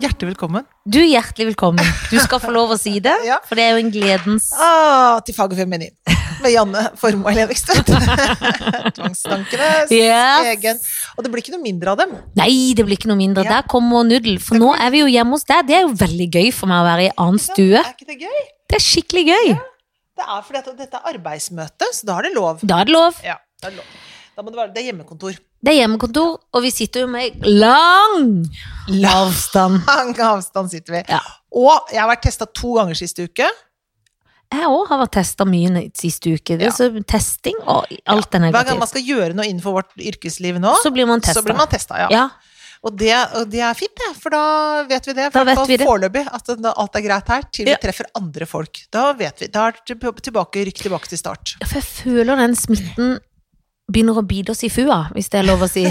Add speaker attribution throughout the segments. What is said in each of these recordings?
Speaker 1: hjertelig velkommen.
Speaker 2: Du er hjertelig velkommen. Du skal få lov å si det,
Speaker 1: Ja.
Speaker 2: for det er jo en gledens
Speaker 1: Ah, til Fag og feminin med Janne Formoe Elevekstvedt. Tvangstankenes
Speaker 2: Yes.
Speaker 1: egen. Og det blir ikke noe mindre av dem.
Speaker 2: Nei, det blir ikke noe mindre.
Speaker 1: Ja.
Speaker 2: Der kommer Nudel. For nå er vi jo hjemme hos deg. Det er jo veldig gøy for meg å være i annen stue.
Speaker 1: Er ikke det gøy?
Speaker 2: Det er skikkelig gøy.
Speaker 1: Det er fordi at dette er arbeidsmøte, så da er det lov.
Speaker 2: Da er det lov.
Speaker 1: Ja, da er det lov. Da må det være Det er hjemmekontor.
Speaker 2: Det er hjemmekontor, og vi sitter jo med lang avstand.
Speaker 1: Lang avstand sitter vi.
Speaker 2: Ja.
Speaker 1: Og jeg har vært testa to ganger siste uke.
Speaker 2: Jeg òg har vært testa mye den siste uke. Det
Speaker 1: Ja.
Speaker 2: er så testing og alt er
Speaker 1: Hver gang man
Speaker 2: negativt.
Speaker 1: skal gjøre noe innenfor vårt yrkesliv nå,
Speaker 2: Så blir man
Speaker 1: så blir
Speaker 2: testa.
Speaker 1: man testa. Ja.
Speaker 2: Ja.
Speaker 1: Og, det, og det er fint, det, for da vet vi det. For
Speaker 2: Da vet vi det.
Speaker 1: Foreløpig. At det- alt er greit her, til vi
Speaker 2: Ja.
Speaker 1: treffer andre folk. Da vet vi. Da er det tilb- tilbake, rykk tilbake til start.
Speaker 2: For jeg føler den smitten begynner å bite oss i fua, hvis det er lov å si.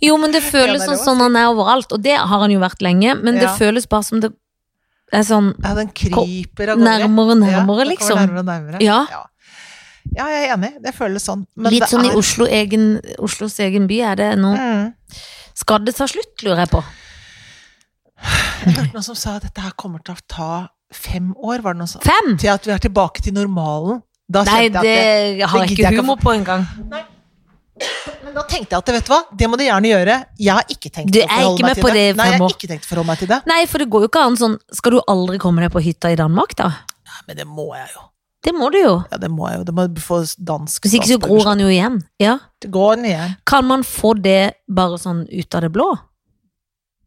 Speaker 2: Jo, men det føles
Speaker 1: det er
Speaker 2: som
Speaker 1: lov å
Speaker 2: sånn han er overalt, og det har han jo vært lenge, men det
Speaker 1: Ja.
Speaker 2: føles bare som det er sånn
Speaker 1: Ja, den kryper av gårde.
Speaker 2: nærmere og
Speaker 1: Ja, den
Speaker 2: nærmere,
Speaker 1: kommer
Speaker 2: liksom.
Speaker 1: Nærmere og nærmere.
Speaker 2: Ja.
Speaker 1: ja. Ja, jeg er enig. Det føles sånn.
Speaker 2: Litt
Speaker 1: det
Speaker 2: sånn i
Speaker 1: er-
Speaker 2: Oslo egen, Oslos egen by er det nå.
Speaker 1: Mm.
Speaker 2: Skal det ta slutt, lurer jeg på.
Speaker 1: Jeg hørte noen som sa at dette her kommer til å ta fem år, var det noen som
Speaker 2: Fem?
Speaker 1: Til at vi er tilbake til normalen. Da
Speaker 2: Nei,
Speaker 1: kjente jeg at
Speaker 2: det
Speaker 1: det,
Speaker 2: har jeg
Speaker 1: gidder jeg
Speaker 2: ikke
Speaker 1: ikke å
Speaker 2: humor på engang.
Speaker 1: Men da tenkte jeg at vet du hva, det må du gjerne gjøre. Jeg har ikke tenkt
Speaker 2: Du
Speaker 1: å
Speaker 2: er
Speaker 1: forholde
Speaker 2: ikke
Speaker 1: meg
Speaker 2: med
Speaker 1: til
Speaker 2: på
Speaker 1: det. Nei,
Speaker 2: det
Speaker 1: jeg har
Speaker 2: fremover.
Speaker 1: ikke tenkt å forholde meg til det.
Speaker 2: Nei, for det går jo ikke an sånn Skal du aldri komme deg på hytta i Danmark, da?
Speaker 1: Nei, men det må jeg jo.
Speaker 2: Det må du jo.
Speaker 1: Ja, det må jeg jo. Det må jeg få dansk
Speaker 2: Hvis ikke så gror han jo igjen. Ja.
Speaker 1: Det går den igjen.
Speaker 2: Kan man få det bare sånn ut av det blå?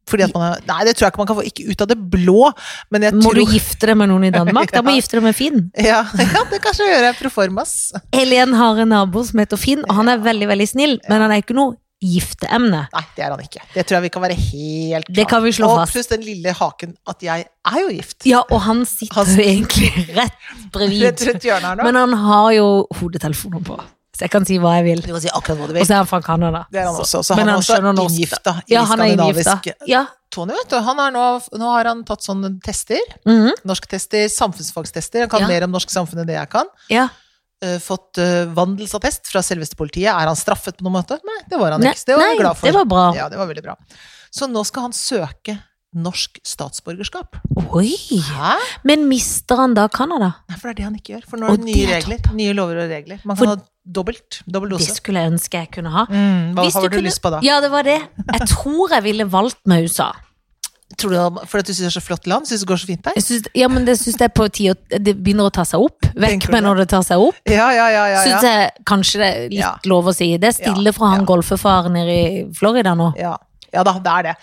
Speaker 1: Fordi at man er, nei, det tror jeg ikke man kan få. Ikke ut av det blå, men jeg
Speaker 2: Må
Speaker 1: tror
Speaker 2: du gifte deg med noen i Danmark? Da må du gifte deg med Finn.
Speaker 1: ja, ja, det kanskje gjør jeg proformas.
Speaker 2: Helen har en nabo som heter Finn, og han er veldig, veldig snill, men han er ikke noe gifteemne.
Speaker 1: Nei, det er han ikke. Det tror jeg vi kan være helt
Speaker 2: Det kan vi slå
Speaker 1: og
Speaker 2: fast.
Speaker 1: pluss den lille haken at jeg er jo gift.
Speaker 2: Ja, og han sitter
Speaker 1: Han
Speaker 2: jo egentlig rett
Speaker 1: Rett
Speaker 2: bredvid.
Speaker 1: rundt hjørnet her nå.
Speaker 2: Men han har jo hodetelefoner på, så jeg kan si hva jeg vil.
Speaker 1: du kan si akkurat hva du
Speaker 2: Og
Speaker 1: vil.
Speaker 2: så er han fra Canada.
Speaker 1: Det er han
Speaker 2: Så-
Speaker 1: også. Så
Speaker 2: men
Speaker 1: han er
Speaker 2: han
Speaker 1: også
Speaker 2: skjønner norsk,
Speaker 1: inngifta i
Speaker 2: Ja, han er inngifta.
Speaker 1: skandinavisk eh,
Speaker 2: Ja.
Speaker 1: Tony, vet du. Han er nå, nå har han tatt sånne tester.
Speaker 2: mhm,
Speaker 1: Norsktester, samfunnsfagstester. Han kan
Speaker 2: Ja.
Speaker 1: mer om norsk samfunn enn det jeg kan.
Speaker 2: ja.
Speaker 1: eh, fått eh, vandelsattest fra selveste politiet. Er han straffet på noen måte? Nei, det var han
Speaker 2: Nei,
Speaker 1: ikke. Så Det var
Speaker 2: nei,
Speaker 1: jeg glad for.
Speaker 2: det var bra.
Speaker 1: Ja, det var veldig bra. Så nå skal han søke norsk statsborgerskap.
Speaker 2: Oi.
Speaker 1: Hæ?
Speaker 2: Men mister han da Canada?
Speaker 1: Nei, for det er det han ikke gjør. For nå er
Speaker 2: Og
Speaker 1: det
Speaker 2: det
Speaker 1: nye
Speaker 2: er
Speaker 1: regler. Nye lover og regler. Man
Speaker 2: For-
Speaker 1: kan ha dobbelt. Dobbel
Speaker 2: Det
Speaker 1: dose.
Speaker 2: skulle jeg ønske jeg kunne ha.
Speaker 1: Mm, hva
Speaker 2: Hvis
Speaker 1: har du,
Speaker 2: kunne-
Speaker 1: lyst på da?
Speaker 2: Ja, det var det. Jeg tror jeg ville valgt meg USA.
Speaker 1: Tror du, han- fordi at du syns det er så flott land? Syns det går så fint der?
Speaker 2: Jeg syns- ja, men det syns jeg er på tide å- Det begynner å ta seg opp.
Speaker 1: Tenker
Speaker 2: Vekk
Speaker 1: du
Speaker 2: med når det tar seg opp.
Speaker 1: Ja, ja, ja. ja,
Speaker 2: Syns
Speaker 1: ja.
Speaker 2: jeg kanskje det er litt
Speaker 1: Ja.
Speaker 2: lov å si. Det er stille
Speaker 1: Ja,
Speaker 2: fra han
Speaker 1: ja.
Speaker 2: golfefaren nede i Florida nå.
Speaker 1: ja. Ja da, det er det.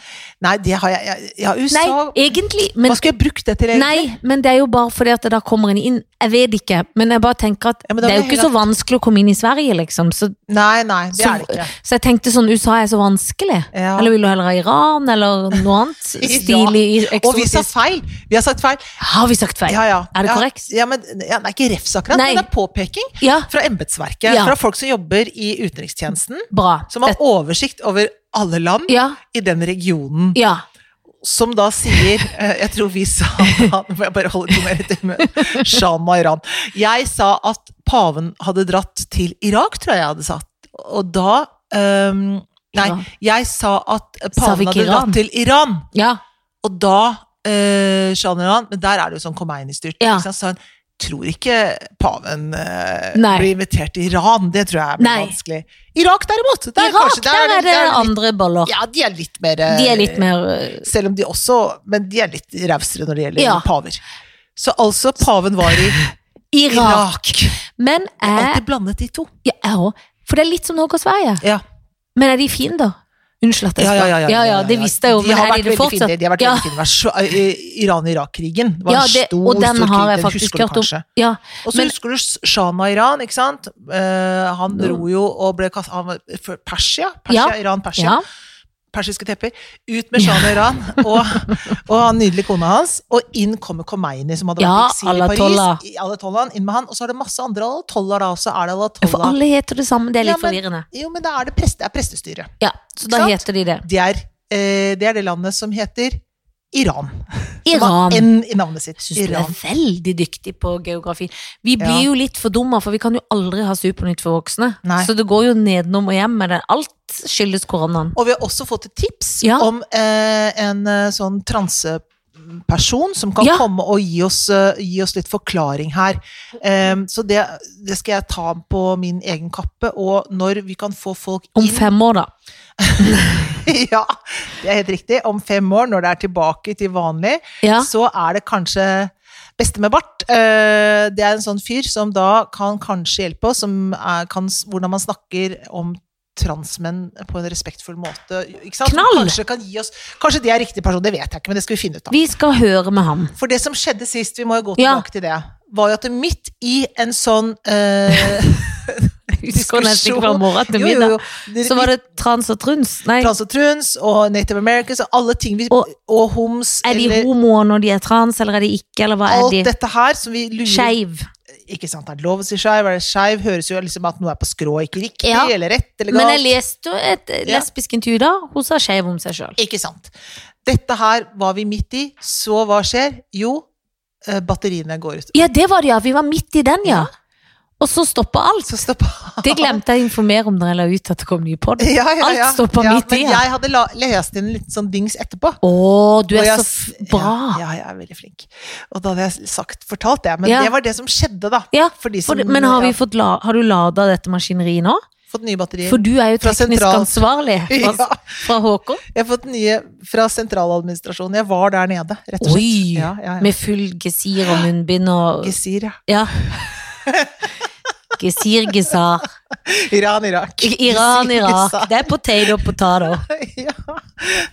Speaker 1: Nei, det har jeg, jeg Ja, USA
Speaker 2: Nei, egentlig
Speaker 1: Hva
Speaker 2: men,
Speaker 1: skulle jeg brukt det til, egentlig?
Speaker 2: Nei, men det er jo bare fordi at det da kommer en inn. Jeg vet ikke, men jeg bare tenker at
Speaker 1: Ja, men da
Speaker 2: det er jo
Speaker 1: vil jeg
Speaker 2: ikke så vanskelig å komme inn i Sverige, liksom. Så,
Speaker 1: Nei, nei, det
Speaker 2: så,
Speaker 1: er det ikke.
Speaker 2: så jeg tenkte sånn, USA er så vanskelig.
Speaker 1: Ja.
Speaker 2: Eller vil du heller ha Iran, eller noe annet? Stilig,
Speaker 1: Og vi sa
Speaker 2: eksotisk.
Speaker 1: feil! Vi har sagt feil.
Speaker 2: Har vi sagt feil?
Speaker 1: Ja, ja.
Speaker 2: Er det
Speaker 1: ja,
Speaker 2: korrekt?
Speaker 1: Ja, men ja, Det er ikke refs akkurat,
Speaker 2: Nei.
Speaker 1: men det er påpeking
Speaker 2: Ja,
Speaker 1: fra embetsverket.
Speaker 2: Ja.
Speaker 1: Fra folk som jobber i utenrikstjenesten,
Speaker 2: bra.
Speaker 1: som har
Speaker 2: Dette-
Speaker 1: oversikt over alle land
Speaker 2: Ja,
Speaker 1: i den regionen.
Speaker 2: ja.
Speaker 1: Som da sier eh, Jeg tror vi sa da Nå må jeg bare holde tunga rett i munnen. Shan Mahran. Jeg sa at paven hadde dratt til Irak, tror jeg jeg hadde sagt. Og da ehm, Nei,
Speaker 2: Ja.
Speaker 1: jeg sa at
Speaker 2: Sa vi
Speaker 1: paven
Speaker 2: ikke
Speaker 1: hadde
Speaker 2: Iran?
Speaker 1: dratt til Iran.
Speaker 2: ja.
Speaker 1: Og da eh, skjønner han, men der er det jo sånn Khomeini-styrt.
Speaker 2: Ja.
Speaker 1: ikke sant? Så han tror ikke paven eh,
Speaker 2: Nei.
Speaker 1: blir invitert til Iran. Det tror jeg blir
Speaker 2: Nei.
Speaker 1: vanskelig. Irak derimot, der,
Speaker 2: Irak,
Speaker 1: kanskje,
Speaker 2: der, er det
Speaker 1: litt-
Speaker 2: andre boller.
Speaker 1: Ja, de er litt mer eh,
Speaker 2: De er litt mer eh,
Speaker 1: Selv om de også Men de er litt rausere når det gjelder
Speaker 2: Ja.
Speaker 1: paver. Så altså, paven var i
Speaker 2: Irak.
Speaker 1: Irak.
Speaker 2: Men jeg
Speaker 1: Alltid blandet de to.
Speaker 2: ja, jeg òg. For det er litt som Norge og Sverige.
Speaker 1: Ja.
Speaker 2: Men er de fiender? Unnskyld at jeg
Speaker 1: Ja,
Speaker 2: spør.
Speaker 1: ja, ja, ja, ja, ja.
Speaker 2: det visste jeg jo,
Speaker 1: De
Speaker 2: men
Speaker 1: har
Speaker 2: er
Speaker 1: vært
Speaker 2: de det
Speaker 1: veldig fine.
Speaker 2: fortsatt?
Speaker 1: De har vært
Speaker 2: ja.
Speaker 1: veldig fine. Det var så- eh, Iran-Irak-krigen var
Speaker 2: Ja,
Speaker 1: en
Speaker 2: det-
Speaker 1: stor,
Speaker 2: og den
Speaker 1: stor
Speaker 2: har
Speaker 1: krig.
Speaker 2: jeg
Speaker 1: Den
Speaker 2: faktisk
Speaker 1: husker du
Speaker 2: hørt om.
Speaker 1: kanskje.
Speaker 2: Ja.
Speaker 1: Og så
Speaker 2: Men-
Speaker 1: husker du Shah Iran, ikke sant? Eh, han
Speaker 2: Ja.
Speaker 1: dro jo og ble kastet Han var for Persia? Persia
Speaker 2: Ja.
Speaker 1: Iran, Persia.
Speaker 2: ja.
Speaker 1: Persiske tepper. Ut med Shah Iran og, og han nydelige kona hans. Og inn kommer Khomeini, som hadde
Speaker 2: Ja,
Speaker 1: vært eksil i
Speaker 2: Ayatollah.
Speaker 1: Paris. I Ayatollahen, inn med han. Og så er det masse andre ayatollaher da også. Er det
Speaker 2: For
Speaker 1: ayatollah
Speaker 2: alle heter det samme, det er litt
Speaker 1: Ja, men-
Speaker 2: forvirrende.
Speaker 1: Jo, men da er det, prest, det er prestestyret.
Speaker 2: Ja, så da
Speaker 1: Sant?
Speaker 2: heter de det.
Speaker 1: Det er, eh, det er det landet som heter Iran. Det var
Speaker 2: Iran.
Speaker 1: N i navnet sitt.
Speaker 2: Syns du er
Speaker 1: Iran.
Speaker 2: veldig dyktig på geografi. Vi blir
Speaker 1: Ja.
Speaker 2: jo litt for dumme, for vi kan jo aldri ha Supernytt for voksne.
Speaker 1: Nei.
Speaker 2: Så det går jo nedenom og hjem med det. Alt skyldes koronaen.
Speaker 1: Og vi har også fått et tips
Speaker 2: Ja.
Speaker 1: om eh, en eh, sånn transeperson som kan
Speaker 2: Ja.
Speaker 1: komme og gi oss, eh, gi oss litt forklaring her. Em, så det, det skal jeg ta på min egen kappe. Og når vi kan få folk
Speaker 2: Om
Speaker 1: inn
Speaker 2: fem år, da.
Speaker 1: Ja, det er helt riktig. Om fem år, når det er tilbake til vanlig,
Speaker 2: Ja.
Speaker 1: så er det kanskje Beste med bart. eh, Det er en sånn fyr som da kan kanskje hjelpe oss, som er, kan, s- hvordan man snakker om transmenn på en respektfull måte. Ikke sant? Som
Speaker 2: Knall!
Speaker 1: Kanskje, kan gi oss, kanskje det er riktig person, det vet jeg ikke, men det skal vi finne ut av.
Speaker 2: Vi skal høre med ham.
Speaker 1: For det som skjedde sist, vi må jo gå
Speaker 2: Ja.
Speaker 1: tilbake til det, var jo at det midt i en sånn eh,
Speaker 2: Husker nesten ikke fra
Speaker 1: Diskusjon.
Speaker 2: morgen
Speaker 1: jo,
Speaker 2: til
Speaker 1: jo,
Speaker 2: middag.
Speaker 1: jo, det-
Speaker 2: Så var det trans og truns. Nei,
Speaker 1: Trans og Truns og Native Americans og alle ting vi
Speaker 2: Og-
Speaker 1: Og, homs
Speaker 2: er de
Speaker 1: eller
Speaker 2: homoer når de er trans, eller er de ikke, eller hva
Speaker 1: alt
Speaker 2: er de?
Speaker 1: dette her som vi lurer
Speaker 2: Skeiv.
Speaker 1: Ikke sant, er det lov å si skeiv? Er det skeiv? Høres jo liksom at noe er på skrå, ikke riktig,
Speaker 2: Ja.
Speaker 1: eller rett, eller
Speaker 2: Men jeg
Speaker 1: galt.
Speaker 2: leste jo et
Speaker 1: Ja.
Speaker 2: lesbisk intervju da, hun sa skeiv om seg sjøl.
Speaker 1: Ikke sant. Dette her var vi midt i, så hva skjer? Jo, eh, batteriene går ut.
Speaker 2: Ja, det var det, ja. Vi var midt i den, ja. Og så stoppa alt.
Speaker 1: Så stoppa
Speaker 2: Det glemte jeg å informere om da jeg la ut at det kom ny pod.
Speaker 1: ja, ja, ja.
Speaker 2: Alt stoppa
Speaker 1: ja,
Speaker 2: midt i,
Speaker 1: Men
Speaker 2: ja.
Speaker 1: jeg hadde la, lest inn en liten sånn dings etterpå.
Speaker 2: Å, du
Speaker 1: Og
Speaker 2: er
Speaker 1: jeg
Speaker 2: så
Speaker 1: s-
Speaker 2: f- bra!
Speaker 1: Ja, ja, jeg er veldig flink. Og da hadde jeg sagt, fortalt det, men
Speaker 2: Ja.
Speaker 1: det var det som skjedde, da.
Speaker 2: Ja,
Speaker 1: for de som
Speaker 2: For, det- men har,
Speaker 1: ja,
Speaker 2: vi fått la, har du lada dette maskineriet nå?
Speaker 1: fått nye batterier.
Speaker 2: For altså- du er jo
Speaker 1: Fra
Speaker 2: teknisk
Speaker 1: sentralt.
Speaker 2: ansvarlig fra,
Speaker 1: Ja.
Speaker 2: fra Håkon.
Speaker 1: Jeg har fått nye fra sentraladministrasjonen. Jeg var der nede, rett og slett.
Speaker 2: Oi!
Speaker 1: Ja, ja, ja.
Speaker 2: Med full gesir og munnbind og
Speaker 1: Gesir, ja.
Speaker 2: Ja. Gesir, gesar.
Speaker 1: Iran, Irak.
Speaker 2: Iran,
Speaker 1: Gesir,
Speaker 2: Irak.
Speaker 1: gesar.
Speaker 2: Det er potato, potato.
Speaker 1: ja,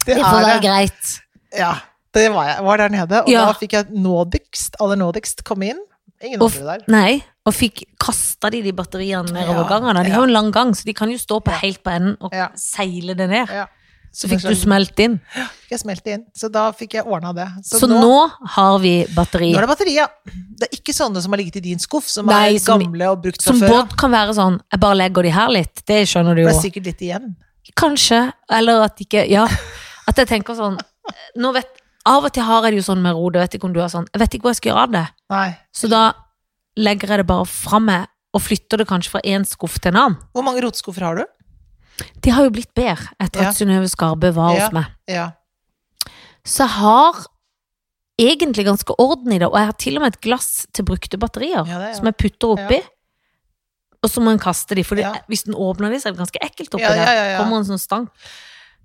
Speaker 1: det,
Speaker 2: Det får
Speaker 1: er
Speaker 2: være
Speaker 1: det.
Speaker 2: greit.
Speaker 1: Ja, det var jeg. Var der nede, og
Speaker 2: Ja.
Speaker 1: da fikk jeg nådigst, aller nådigst, komme inn. Ingen
Speaker 2: Og f-
Speaker 1: andre der.
Speaker 2: Nei, og fikk kasta de de batteriene nedover
Speaker 1: Ja,
Speaker 2: gangene. De
Speaker 1: ja.
Speaker 2: har jo en lang gang, så de kan jo stå på
Speaker 1: Ja.
Speaker 2: helt på enden og
Speaker 1: Ja.
Speaker 2: seile det ned.
Speaker 1: Ja.
Speaker 2: Så fikk
Speaker 1: Som en
Speaker 2: du
Speaker 1: slags-
Speaker 2: smelt inn.
Speaker 1: Jeg smelte inn, så da fikk jeg ordna det.
Speaker 2: Så, nå, har vi batteri.
Speaker 1: nå er det batteri, ja. Det er ikke sånne som har ligget i din skuff, som
Speaker 2: Nei,
Speaker 1: er
Speaker 2: som-
Speaker 1: gamle og brukt fra
Speaker 2: Som
Speaker 1: før. ja.
Speaker 2: Bård kan være sånn Jeg bare legger de her litt. Det skjønner du
Speaker 1: Det
Speaker 2: jo.
Speaker 1: er sikkert litt igjen.
Speaker 2: Kanskje. Eller at ikke Ja. At jeg tenker sånn nå vet, Av og til har jeg det jo sånn med Rode. Vet ikke om du har sånn Jeg vet ikke hva jeg skal gjøre av det.
Speaker 1: Nei.
Speaker 2: Så da legger jeg det bare fra meg, og flytter det kanskje fra én skuff til en annen.
Speaker 1: Hvor mange rotskuffer har du?
Speaker 2: De har jo blitt bedre etter
Speaker 1: Ja.
Speaker 2: at Synnøve Skarbø var
Speaker 1: Ja.
Speaker 2: hos meg.
Speaker 1: Ja.
Speaker 2: Så jeg har egentlig ganske orden i det, og jeg har til og med et glass til brukte batterier
Speaker 1: Ja, det er-
Speaker 2: som jeg putter oppi. Og så må en kaste de, for det-
Speaker 1: Ja.
Speaker 2: hvis den åpner de, så er det ganske ekkelt oppi
Speaker 1: Ja, ja, ja, ja.
Speaker 2: der. Kommer en sånn stang.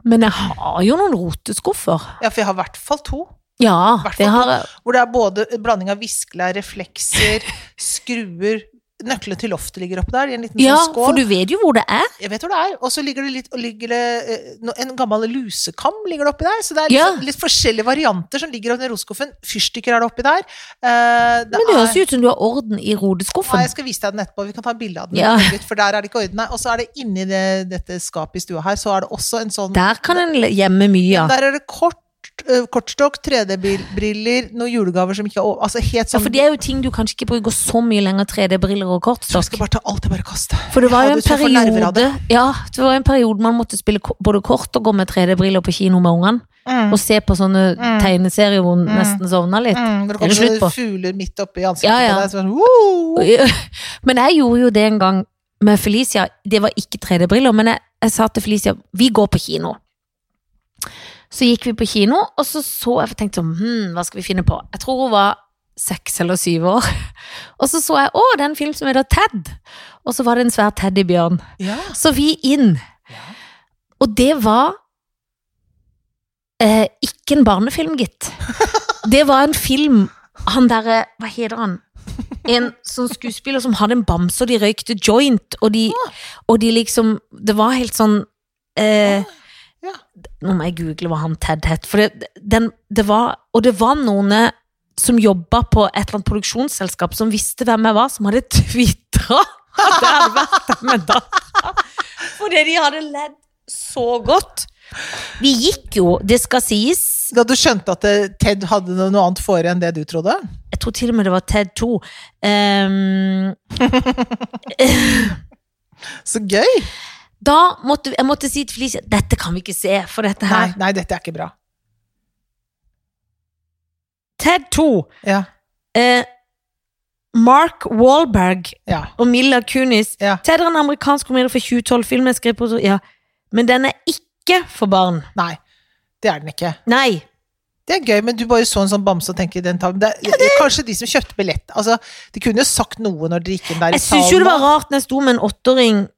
Speaker 2: Men jeg har jo noen roteskuffer.
Speaker 1: ja, for jeg har i hvert fall to.
Speaker 2: Ja,
Speaker 1: Hvertfall
Speaker 2: det har jeg.
Speaker 1: Hvor det er både blanding av viskelær, reflekser, skruer Nøklene til loftet ligger oppe der i en liten
Speaker 2: Ja,
Speaker 1: sånn skål.
Speaker 2: for du vet jo hvor det er.
Speaker 1: Jeg vet hvor det er. Og så ligger det litt og ligger det, eh, no- En gammel lusekam ligger det oppi der. Så det er litt,
Speaker 2: Ja.
Speaker 1: sånn- litt forskjellige varianter som ligger oppi den rotskuffen. Fyrstikker er det oppi der. Eh,
Speaker 2: Men det høres
Speaker 1: er-
Speaker 2: jo ut som du har orden i
Speaker 1: Nei,
Speaker 2: rodeskuffen.
Speaker 1: jeg skal vise deg den etterpå. Vi kan ta en bilde av den.
Speaker 2: Ja.
Speaker 1: og legge ut, For der er det ikke orden. Nei, Og så er det inni det, dette skapet i stua her, så er det også en sånn
Speaker 2: Der kan en le- gjemme mye.
Speaker 1: Der er det kort, eh, kortstokk, 3D-briller, noen julegaver som ikke er over Altså helt
Speaker 2: Ja,
Speaker 1: sånn
Speaker 2: for det er jo ting du kanskje ikke bruker så mye lenger 3D-briller og
Speaker 1: Jeg skal
Speaker 2: kortstokk.
Speaker 1: bare ta alt jeg bare kaster.
Speaker 2: For det var jo
Speaker 1: Ja,
Speaker 2: en
Speaker 1: du skal få nerver av
Speaker 2: periode Ja, det var en periode man måtte spille ko- både kort og gå med 3D-briller på kino med ungene. Og se på sånne
Speaker 1: Mm.
Speaker 2: tegneserier hvor hun nesten sovna litt.
Speaker 1: Mm, når det
Speaker 2: Er
Speaker 1: kommer
Speaker 2: det slutt
Speaker 1: sånne
Speaker 2: på?
Speaker 1: fugler midt oppi ansiktet
Speaker 2: Ja, ja.
Speaker 1: på deg, så er det sånn «Woo!»
Speaker 2: Men jeg gjorde jo det en gang med Felicia. Det var ikke 3D-briller, men jeg, jeg sa til Felicia vi går på kino. Så gikk vi på kino, og så så jeg for jeg tenkte sånn, hm, hva skal vi finne på? Jeg tror hun var seks eller syv år. Og så så jeg å, det er en film som heter Ted. Og så var det en svær teddybjørn.
Speaker 1: Ja.
Speaker 2: Så vi inn.
Speaker 1: Ja.
Speaker 2: Og det var eh, ikke en barnefilm, gitt. Det var en film Han derre Hva heter han? En sånn skuespiller som hadde en bamse, og de røykte joint, og de, og de liksom Det var helt sånn eh,
Speaker 1: Ja.
Speaker 2: Nå må jeg google hva han Ted het. For det, den, det var, og det var noen eh, som jobba på et eller annet produksjonsselskap, som visste hvem jeg var, som hadde tvitra at jeg hadde vært der med dattera. Fordi de hadde ledd så godt. Vi gikk jo, det skal sies
Speaker 1: Da du skjønte at eh, Ted hadde noe annet fore enn det du trodde?
Speaker 2: Jeg tror til og med det var TED 2. Ehm,
Speaker 1: Så gøy!
Speaker 2: da måtte vi- jeg måtte si til Felicia dette kan vi ikke se, for dette
Speaker 1: Nei,
Speaker 2: her
Speaker 1: nei, dette er ikke bra.
Speaker 2: TED 2.
Speaker 1: Ja.
Speaker 2: Eh, Mark Wahlberg
Speaker 1: Ja.
Speaker 2: og Mila Kunis.
Speaker 1: Ja.
Speaker 2: TED er en amerikansk komedie fra 2012-film. jeg skrev på- Ja. Men den er ikke for barn.
Speaker 1: Nei. Det er den ikke.
Speaker 2: Nei.
Speaker 1: Det er gøy, men du bare så en sånn bamse og tenker den tar vi. Det, er- Kanskje de som kjøpte billett altså, De kunne jo sagt noe når de gikk inn der i
Speaker 2: Jeg
Speaker 1: salen.
Speaker 2: syns jo det var
Speaker 1: da.
Speaker 2: rart når jeg sto med en åtteåring.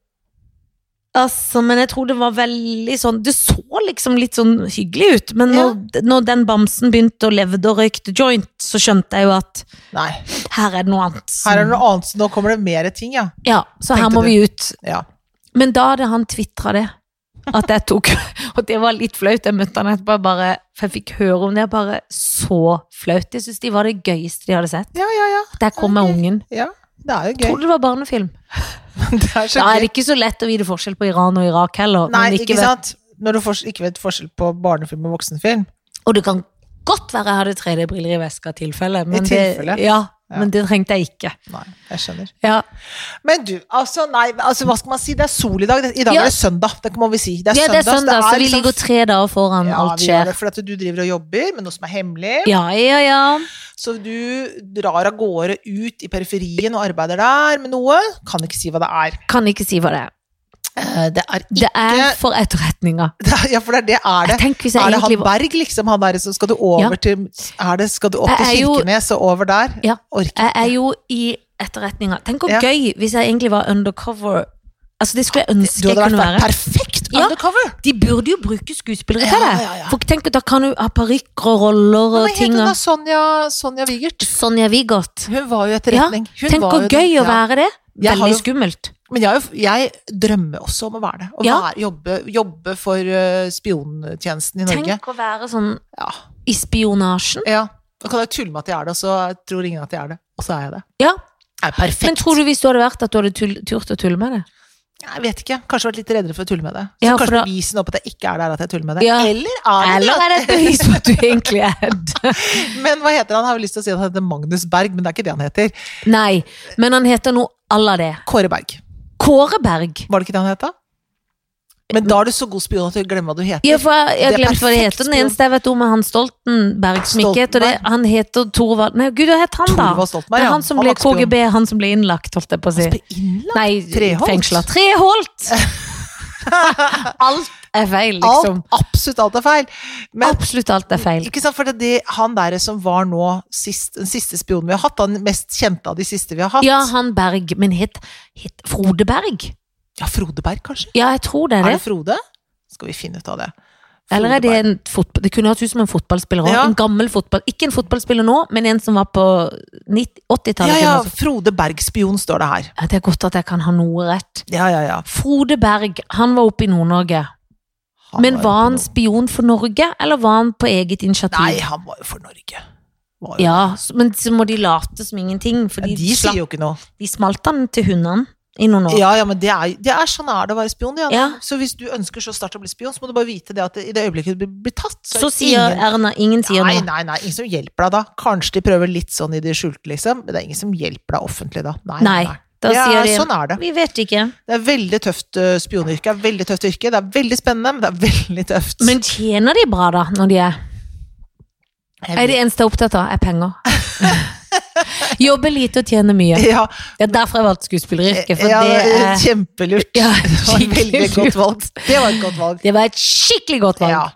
Speaker 2: Altså, men jeg tror det var veldig sånn Det så liksom litt sånn hyggelig ut, men når, når den bamsen begynte å levde og røykte joint, så skjønte jeg jo at
Speaker 1: Nei.
Speaker 2: her er det noe annet. som-
Speaker 1: Her er det noe annet, så nå kommer det mer ting, ja.
Speaker 2: ja, så her
Speaker 1: tenkte
Speaker 2: må
Speaker 1: du.
Speaker 2: vi ut.
Speaker 1: ja.
Speaker 2: Men da hadde han tvitra det. At jeg tok Og det var litt flaut. Jeg møtte han etterpå, jeg bare, for jeg fikk høre om det. Jeg bare så flaut. Jeg syns de var det gøyeste de hadde sett.
Speaker 1: Ja, ja, ja.
Speaker 2: Der kom jeg ungen.
Speaker 1: ja. Det er jo gøy.
Speaker 2: Trodde det var barnefilm.
Speaker 1: Det er så
Speaker 2: Da er
Speaker 1: gøy.
Speaker 2: det ikke så lett å vite forskjell på Iran og Irak heller.
Speaker 1: Nei,
Speaker 2: men
Speaker 1: ikke
Speaker 2: likevel-
Speaker 1: sant? Når du fors- ikke vet forskjell på barnefilm og voksenfilm.
Speaker 2: Og det kan godt være jeg hadde 3D-briller i veska i tilfelle. Men,
Speaker 1: tilfelle.
Speaker 2: Det, ja,
Speaker 1: Ja.
Speaker 2: men det trengte jeg ikke.
Speaker 1: Nei, jeg skjønner.
Speaker 2: Ja.
Speaker 1: Men du, altså, nei, altså, hva skal man si? Det er sol i dag. Det- I dag
Speaker 2: Ja.
Speaker 1: er det søndag, det må vi si. Det er
Speaker 2: ja, det er
Speaker 1: så
Speaker 2: søndag, så vi
Speaker 1: liksom-
Speaker 2: ligger tre dager foran
Speaker 1: ja,
Speaker 2: alt
Speaker 1: vi gjør
Speaker 2: skjer.
Speaker 1: det, for at du driver og jobber med noe som er hemmelig.
Speaker 2: Ja, ja, ja.
Speaker 1: Så du drar av gårde ut i periferien og arbeider der med noe. Kan ikke si hva det er.
Speaker 2: Kan ikke si hva det er.
Speaker 1: Eh, Det er ikke
Speaker 2: Det er for etterretninga.
Speaker 1: Ja, for det er det er det.
Speaker 2: Jeg tenker hvis jeg
Speaker 1: Er det han
Speaker 2: egentlig var-
Speaker 1: Berg, liksom? Han der, så skal du over
Speaker 2: Ja.
Speaker 1: til er det, Skal du opp
Speaker 2: Jeg
Speaker 1: til
Speaker 2: er jo-
Speaker 1: Kirkenes og over der?
Speaker 2: Ja.
Speaker 1: Orker
Speaker 2: Jeg er jo i etterretninga. Tenk hvor
Speaker 1: Ja.
Speaker 2: gøy hvis jeg egentlig var undercover. Altså, det skulle jeg
Speaker 1: Du
Speaker 2: ønske jeg
Speaker 1: hadde vært
Speaker 2: kunne være.
Speaker 1: perfekt
Speaker 2: Ja.
Speaker 1: undercover!
Speaker 2: De burde jo bruke skuespillere
Speaker 1: Ja,
Speaker 2: til det.
Speaker 1: ja, ja.
Speaker 2: For tenk, da kan du ha parykker og roller
Speaker 1: Hva
Speaker 2: og
Speaker 1: het
Speaker 2: ting.
Speaker 1: hun da?
Speaker 2: og-
Speaker 1: Sonja, Sonja Wigert?
Speaker 2: Sonja Wigert.
Speaker 1: Hun var jo etterretning. Hun
Speaker 2: Tenk
Speaker 1: var
Speaker 2: hvor
Speaker 1: jo
Speaker 2: gøy
Speaker 1: den-
Speaker 2: å være det.
Speaker 1: Jeg har
Speaker 2: Veldig
Speaker 1: jo-
Speaker 2: skummelt.
Speaker 1: Men jeg, er jo- jeg drømmer også om å være det. Å
Speaker 2: Ja.
Speaker 1: være, jobbe, jobbe for eh, spiontjenesten i Norge.
Speaker 2: Tenk å være sånn
Speaker 1: Ja.
Speaker 2: i spionasjen.
Speaker 1: ja. Da kan jeg tulle med at jeg er det, og så tror ingen at jeg er det. Og så er jeg det.
Speaker 2: Ja,
Speaker 1: Jeg er perfekt.
Speaker 2: Men tror du hvis du hadde vært at du hadde tull, turt å tulle med det?
Speaker 1: Jeg vet ikke. Kanskje vært litt reddere for å tulle med det. Så
Speaker 2: Ja, for
Speaker 1: kanskje
Speaker 2: da-
Speaker 1: bevise nå på at jeg ikke er der, at jeg tuller med det.
Speaker 2: Ja.
Speaker 1: Eller er det
Speaker 2: Eller er det et bevis på at du egentlig er det?
Speaker 1: det? Men hva heter han? Jeg har jo lyst til å si at han heter Magnus Berg, men det er ikke det han heter.
Speaker 2: Nei, men han heter noe à la det.
Speaker 1: Kåre Berg.
Speaker 2: Kåre Berg.
Speaker 1: Var det ikke det han het, da? Men da er du så god spion at du glemmer hva du heter.
Speaker 2: Ja, for jeg jeg har
Speaker 1: Det er
Speaker 2: glemt hva det
Speaker 1: perfekt
Speaker 2: heter. Den eneste jeg vet om, er han Stoltenberg, som ikke heter det.
Speaker 1: Stoltenberg.
Speaker 2: Han heter Thorvald Nei, gud, hva het han, da?
Speaker 1: Thorvald Stoltenberg,
Speaker 2: Det er
Speaker 1: ja.
Speaker 2: han som
Speaker 1: Han
Speaker 2: ble
Speaker 1: var spion.
Speaker 2: KGB, han som ble innlagt, holdt jeg på å si.
Speaker 1: Ble innlagt?
Speaker 2: Nei,
Speaker 1: Treholt?
Speaker 2: fengsla. Treholt! Alt er feil, liksom.
Speaker 1: Alt, absolutt alt er feil. Men
Speaker 2: Absolutt alt er feil.
Speaker 1: ikke sant, for det, det, han der som var nå sist, den siste spionen vi har hatt, han mest kjente av de siste vi har hatt
Speaker 2: Ja, han Berg, men het, het Frode Berg?
Speaker 1: Ja, Frode Berg, kanskje?
Speaker 2: Ja, jeg tror det er
Speaker 1: Er
Speaker 2: det.
Speaker 1: det Frode? Skal vi finne ut av det.
Speaker 2: Eller er det
Speaker 1: Frode
Speaker 2: en fotball... Det kunne hørt ut som en fotballspiller òg.
Speaker 1: Ja.
Speaker 2: En gammel fotball... Ikke en fotballspiller nå, men en som var på 90
Speaker 1: Berg. Ja,
Speaker 2: 80-tallet.
Speaker 1: ja,
Speaker 2: kunne hørt ut.
Speaker 1: Frode Berg-spion står det her.
Speaker 2: Ja, Det er godt at jeg kan ha noe rett.
Speaker 1: Ja, ja, ja.
Speaker 2: Frode Berg, han var oppe i Nord-Norge.
Speaker 1: Han
Speaker 2: Men var
Speaker 1: jo
Speaker 2: han
Speaker 1: på noe-
Speaker 2: spion for Norge, eller var han på eget initiativ?
Speaker 1: Nei, han var jo for Norge. Var jo.
Speaker 2: Ja, så- men så må de late som ingenting, for
Speaker 1: Ja,
Speaker 2: de,
Speaker 1: de sier
Speaker 2: slapp,
Speaker 1: jo ikke noe.
Speaker 2: de smalt han til hundene i noen år.
Speaker 1: Ja, ja, men det er, det er sånn er det å være spion. Ja.
Speaker 2: Ja.
Speaker 1: Så hvis du ønsker så sterkt å bli spion, så må du bare vite det at i det øyeblikket du blir- blir tatt, er
Speaker 2: Så
Speaker 1: det
Speaker 2: sier
Speaker 1: ingen-
Speaker 2: Erna Ingen sier
Speaker 1: Nei,
Speaker 2: noe.
Speaker 1: nei, nei, ingen som hjelper deg da. Kanskje de prøver litt sånn i det skjulte, liksom. Men det er ingen som hjelper deg offentlig da. Nei, nei,
Speaker 2: Nei.
Speaker 1: nei.
Speaker 2: Da
Speaker 1: Ja,
Speaker 2: sier de
Speaker 1: sånn er det.
Speaker 2: Vi vet ikke.
Speaker 1: Det er veldig tøft eh, spionyrke. Det er veldig tøft yrke. Det er veldig spennende, men det er veldig tøft.
Speaker 2: Men tjener de bra, da, når de er Er det eneste jeg er opptatt av, er penger. Jobbe lite og tjene mye.
Speaker 1: Ja,
Speaker 2: Det er derfor jeg valgte skuespilleryrket, for
Speaker 1: ja,
Speaker 2: det
Speaker 1: det er
Speaker 2: er
Speaker 1: kjempelurt.
Speaker 2: ja,
Speaker 1: Det var et
Speaker 2: skikkelig
Speaker 1: veldig godt
Speaker 2: lurt.
Speaker 1: valg. Det var et godt valg.
Speaker 2: Det var et skikkelig godt valg.
Speaker 1: Ja.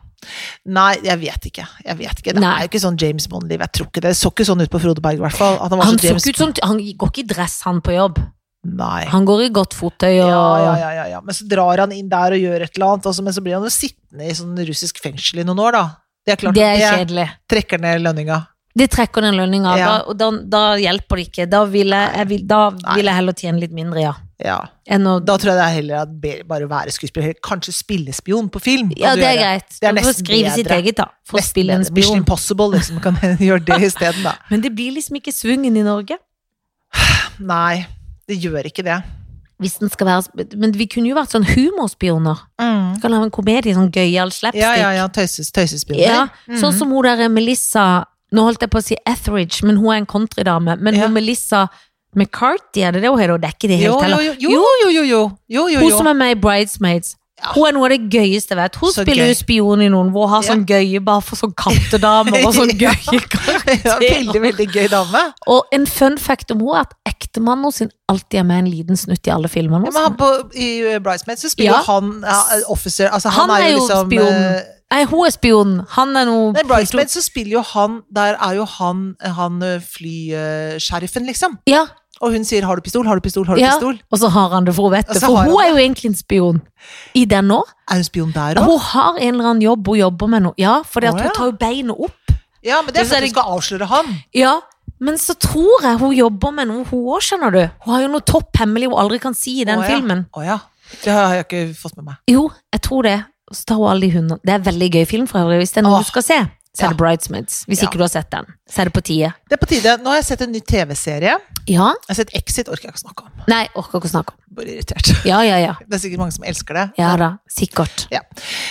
Speaker 1: Nei, jeg vet ikke. Jeg vet ikke. Det
Speaker 2: Nei.
Speaker 1: er jo ikke sånn James Bond-liv. Jeg tror ikke Det Det så ikke sånn ut på Frode Berg, i hvert fall. At han var
Speaker 2: Han
Speaker 1: så
Speaker 2: så
Speaker 1: James
Speaker 2: ikke ut som Han går ikke i dress, han på jobb.
Speaker 1: Nei.
Speaker 2: Han går i godt fottøy og
Speaker 1: Ja, ja, ja, ja, ja. Men så drar han inn der og gjør et eller annet, og så- men så blir han jo sittende i sånn russisk fengsel i noen år, da. Det er klart
Speaker 2: Det er
Speaker 1: at det
Speaker 2: kjedelig.
Speaker 1: trekker ned lønninga.
Speaker 2: Det trekker den lønninga,
Speaker 1: Ja.
Speaker 2: da, og da, da hjelper det ikke. Da vil jeg, jeg, vil, da
Speaker 1: Nei.
Speaker 2: vil jeg heller tjene litt mindre, ja.
Speaker 1: Ja.
Speaker 2: Enn å
Speaker 1: Da tror jeg det er heller at be- bare være skuespiller. Kanskje spillespion på film. kan
Speaker 2: Ja,
Speaker 1: du
Speaker 2: det er
Speaker 1: gjøre.
Speaker 2: greit.
Speaker 1: Det er
Speaker 2: Du får
Speaker 1: nesten
Speaker 2: skrive sitt
Speaker 1: bedre.
Speaker 2: eget, da. For å
Speaker 1: Nesten
Speaker 2: spille en
Speaker 1: bedre. Mission
Speaker 2: spion.
Speaker 1: Impossible, liksom. Kan gjøre det isteden, da.
Speaker 2: Men det blir liksom ikke svungen i Norge.
Speaker 1: Nei, det gjør ikke det.
Speaker 2: Hvis den skal være sp- Men vi kunne jo vært sånn humorspioner. Vi kan lage en komedie, sånn gøyal slapstick.
Speaker 1: Ja, ja, ja. Tøyses, tøysespioner.
Speaker 2: Ja, Sånn
Speaker 1: Mhm.
Speaker 2: som hun der Melissa Nå holdt jeg på å si Etheridge, men hun er en countrydame. Men
Speaker 1: Ja.
Speaker 2: hun Melissa McCarthy, er det det hun heter? Og Det er ikke det helt
Speaker 1: jo,
Speaker 2: heller.
Speaker 1: jo, jo, jo, jo, jo, jo, jo, jo,
Speaker 2: Hun
Speaker 1: jo.
Speaker 2: som er med i Bridesmaids. Hun er noe av det gøyeste jeg vet. Hun
Speaker 1: Så
Speaker 2: spiller
Speaker 1: gøy.
Speaker 2: jo spion i noen hvor hun har
Speaker 1: Ja.
Speaker 2: sånn gøye bare for sånn kattedamer og sånn
Speaker 1: Ja.
Speaker 2: gøye
Speaker 1: Ja, veldig,
Speaker 2: karakterer.
Speaker 1: veldig gøy dame.
Speaker 2: Og en fun fact om henne er at ektemannen hennes alltid er med en liten snutt i alle filmene.
Speaker 1: Ja,
Speaker 2: hennes.
Speaker 1: men han på, I eh, Bridesmaids så spiller
Speaker 2: Ja.
Speaker 1: han ja, officer altså, han, er jo liksom,
Speaker 2: spion.
Speaker 1: eh,
Speaker 2: Nei, hun er spion. Han er noe
Speaker 1: Nei, Bridesmaids så spiller jo han Der er jo han, han eh, flysheriffen, liksom.
Speaker 2: Ja,
Speaker 1: Og hun sier 'har du pistol', 'har du pistol', 'har du
Speaker 2: Ja.
Speaker 1: pistol'.
Speaker 2: og så har han det, for hun vet
Speaker 1: Og
Speaker 2: det.
Speaker 1: så
Speaker 2: For
Speaker 1: har
Speaker 2: hun
Speaker 1: han
Speaker 2: er jo egentlig en spion i den nå.
Speaker 1: Er hun spion der òg?
Speaker 2: Hun har en eller annen jobb hun jobber med nå. Ja, for
Speaker 1: Å,
Speaker 2: hun
Speaker 1: ja.
Speaker 2: tar jo beinet opp.
Speaker 1: Ja, men det er
Speaker 2: Så
Speaker 1: for
Speaker 2: er
Speaker 1: at hun
Speaker 2: det-
Speaker 1: skal avsløre han.
Speaker 2: Ja, men så tror jeg hun jobber med noe hun òg, skjønner du. Hun har jo noe topp hemmelig hun aldri kan si i den
Speaker 1: Å, ja.
Speaker 2: filmen.
Speaker 1: Å ja. Det har jeg ikke fått med meg.
Speaker 2: Jo, jeg tror det. Så tar hun alle de hundene. Det er en veldig gøy film for øvrig, hvis det er noe
Speaker 1: Åh.
Speaker 2: du skal se. Så er det Bridesmaids, hvis
Speaker 1: Ja.
Speaker 2: ikke du har sett den. Så er det på tide.
Speaker 1: Det er på tide. Nå har jeg sett en ny TV-serie. Jeg
Speaker 2: Ja?
Speaker 1: har sett Exit, orker jeg ikke snakke om.
Speaker 2: Nei, orker ikke å snakke om.
Speaker 1: Bare irritert.
Speaker 2: Ja, ja, ja.
Speaker 1: Det er sikkert mange som elsker det.
Speaker 2: Ja da, sikkert.
Speaker 1: Ja.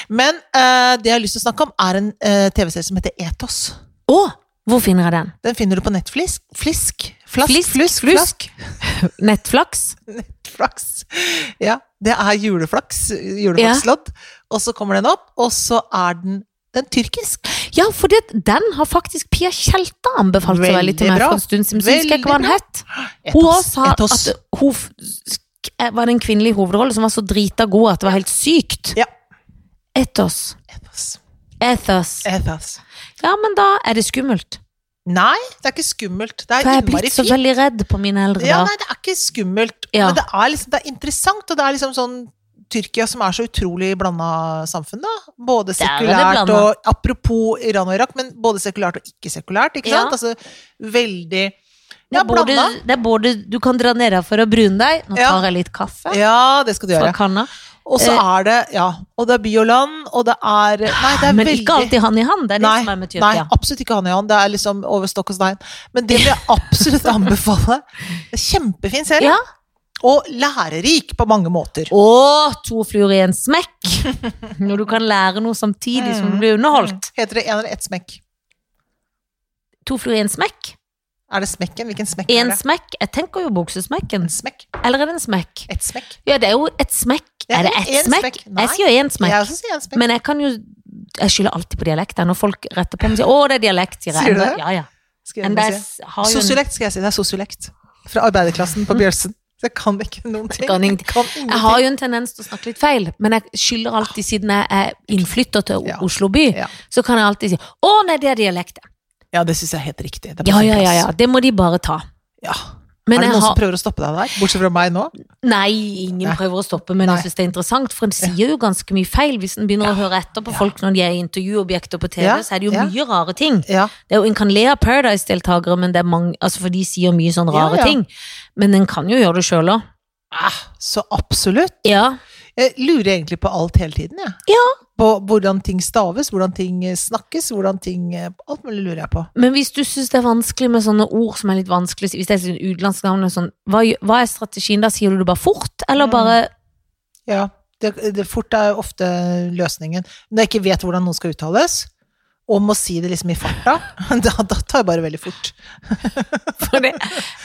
Speaker 1: Men eh, det jeg har lyst til å snakke om, er en eh, TV-serie som heter Ethos.
Speaker 2: Å, hvor finner jeg den?
Speaker 1: Den finner du på Netflisk. Flisk? Flask?
Speaker 2: Flisk,
Speaker 1: flusk,
Speaker 2: flusk. Nettflaks?
Speaker 1: Nettflaks. Ja. Det er juleflaks. Juleflakslodd. Og så kommer den opp, og så er den den tyrkisk.
Speaker 2: Ja, for det, den har faktisk Pia Tjelta anbefalt så veldig til
Speaker 1: Veldig
Speaker 2: meg
Speaker 1: bra.
Speaker 2: for en stund siden. Så husker jeg ikke hva
Speaker 1: Veldig
Speaker 2: den het. Hun også
Speaker 1: Ethos.
Speaker 2: sa
Speaker 1: Ethos.
Speaker 2: at hun f- sk- eh, var det en kvinnelig hovedrolle som var så drita god at det var helt sykt.
Speaker 1: Ja.
Speaker 2: Ethos.
Speaker 1: Ethos.
Speaker 2: Ethos.
Speaker 1: Ethos.
Speaker 2: Ja, men da er det skummelt.
Speaker 1: Nei, det er ikke skummelt. Det
Speaker 2: For jeg
Speaker 1: er
Speaker 2: er blitt
Speaker 1: innmari
Speaker 2: så
Speaker 1: fint.
Speaker 2: veldig redd på mine eldre
Speaker 1: Ja,
Speaker 2: dager.
Speaker 1: nei, det er ikke skummelt.
Speaker 2: Ja.
Speaker 1: Men det er, liksom, det er interessant, og det er liksom sånn Tyrkia som er så utrolig blanda samfunn, da. Både
Speaker 2: Der er det
Speaker 1: sekulært
Speaker 2: blanda.
Speaker 1: og Apropos Iran og Irak, men både sekulært og ikke-sekulært, ikke
Speaker 2: Ja.
Speaker 1: sant? Altså veldig
Speaker 2: Det
Speaker 1: Ja,
Speaker 2: er både,
Speaker 1: blanda.
Speaker 2: det er både du kan dra ned her for å brune deg. Nå
Speaker 1: Ja.
Speaker 2: tar jeg litt kaffe
Speaker 1: Ja, det skal du
Speaker 2: fra
Speaker 1: gjøre.
Speaker 2: kanna.
Speaker 1: Og så
Speaker 2: Eh.
Speaker 1: er det Ja. Og det er by og land, og det er Nei, det er
Speaker 2: Men
Speaker 1: veldig
Speaker 2: ikke alltid hand i hand. Det er det som er med
Speaker 1: nei,
Speaker 2: Tyrkia.
Speaker 1: absolutt ikke han Jan. Det er liksom over stokk og stein. Men det vil jeg absolutt anbefale. Det er Kjempefin serie.
Speaker 2: Ja.
Speaker 1: Og lærerik på mange måter.
Speaker 2: Og to fluer i en smekk! Når du kan lære noe samtidig som
Speaker 1: Mm.
Speaker 2: du blir underholdt.
Speaker 1: Heter det én eller ett smekk?
Speaker 2: To fluer i en smekk.
Speaker 1: Er det smekken? Hvilken smekk
Speaker 2: En
Speaker 1: er det?
Speaker 2: smekk. Jeg tenker jo buksesmekken.
Speaker 1: En smekk?
Speaker 2: Eller er det en smekk?
Speaker 1: Et smekk?
Speaker 2: Ja, det er jo et smekk.
Speaker 1: Ja,
Speaker 2: er det ett
Speaker 1: en
Speaker 2: smekk?
Speaker 1: smekk. Nei.
Speaker 2: Jeg sier én smekk.
Speaker 1: Jeg også sier en smekk.
Speaker 2: Men jeg kan jo Jeg skylder alltid på dialekt. jeg. Når folk retter på meg og sier 'Å, det er dialekt', sier jeg.
Speaker 1: Sier du
Speaker 2: Enda-
Speaker 1: det?
Speaker 2: Ja, ja.
Speaker 1: Skal jeg
Speaker 2: Men
Speaker 1: bare
Speaker 2: jeg
Speaker 1: si.
Speaker 2: har jo en, Mm.
Speaker 1: Sosiolekt skal jeg si. Det er sosiolekt. Fra arbeiderklassen på Bjørsen. Så jeg kan ikke noen ting.
Speaker 2: kan ingenting.
Speaker 1: kan
Speaker 2: jeg har jo en tendens til å snakke litt feil, men jeg skylder alltid, siden jeg er innflytter til
Speaker 1: Ja.
Speaker 2: Oslo by,
Speaker 1: Ja.
Speaker 2: så kan jeg alltid si 'Å, nei, det er dialekt'.
Speaker 1: Ja, det syns jeg er helt riktig. Det er på
Speaker 2: Ja,
Speaker 1: sin
Speaker 2: ja, ja,
Speaker 1: plass.
Speaker 2: ja. Det må de bare ta.
Speaker 1: Ja. er
Speaker 2: Men
Speaker 1: det
Speaker 2: jeg
Speaker 1: noen
Speaker 2: har
Speaker 1: som prøver å stoppe deg der? Bortsett fra meg nå?
Speaker 2: Nei, ingen
Speaker 1: Nei.
Speaker 2: prøver å stoppe, men
Speaker 1: Nei.
Speaker 2: jeg synes det er interessant, for en sier jo ganske mye feil. Hvis en begynner å høre etter på
Speaker 1: Ja.
Speaker 2: folk når de er i intervjuobjekter på TV,
Speaker 1: Ja.
Speaker 2: så er det jo
Speaker 1: Ja.
Speaker 2: mye rare ting.
Speaker 1: Ja.
Speaker 2: Det er jo, En kan le av Paradise-deltakere, men det er mange, altså for de sier mye sånn
Speaker 1: Ja,
Speaker 2: rare
Speaker 1: ja.
Speaker 2: ting. Men en kan jo gjøre det sjøl òg.
Speaker 1: Ah, så absolutt.
Speaker 2: Ja.
Speaker 1: Jeg lurer egentlig på alt hele tiden, jeg. På hvordan ting staves, hvordan ting eh, snakkes, hvordan ting eh, Alt mulig lurer jeg på.
Speaker 2: Men hvis du syns det er vanskelig med sånne ord som er litt vanskelig, hvis det er sånn utenlandske navn, og sånn, hva, gjø- hva er strategien da? Sier du det bare fort, eller
Speaker 1: Mm.
Speaker 2: bare
Speaker 1: Ja, det, det fort er jo ofte løsningen. Når jeg ikke vet hvordan noe skal uttales, og må si det liksom i farta, da, da tar jeg bare veldig fort.
Speaker 2: For det,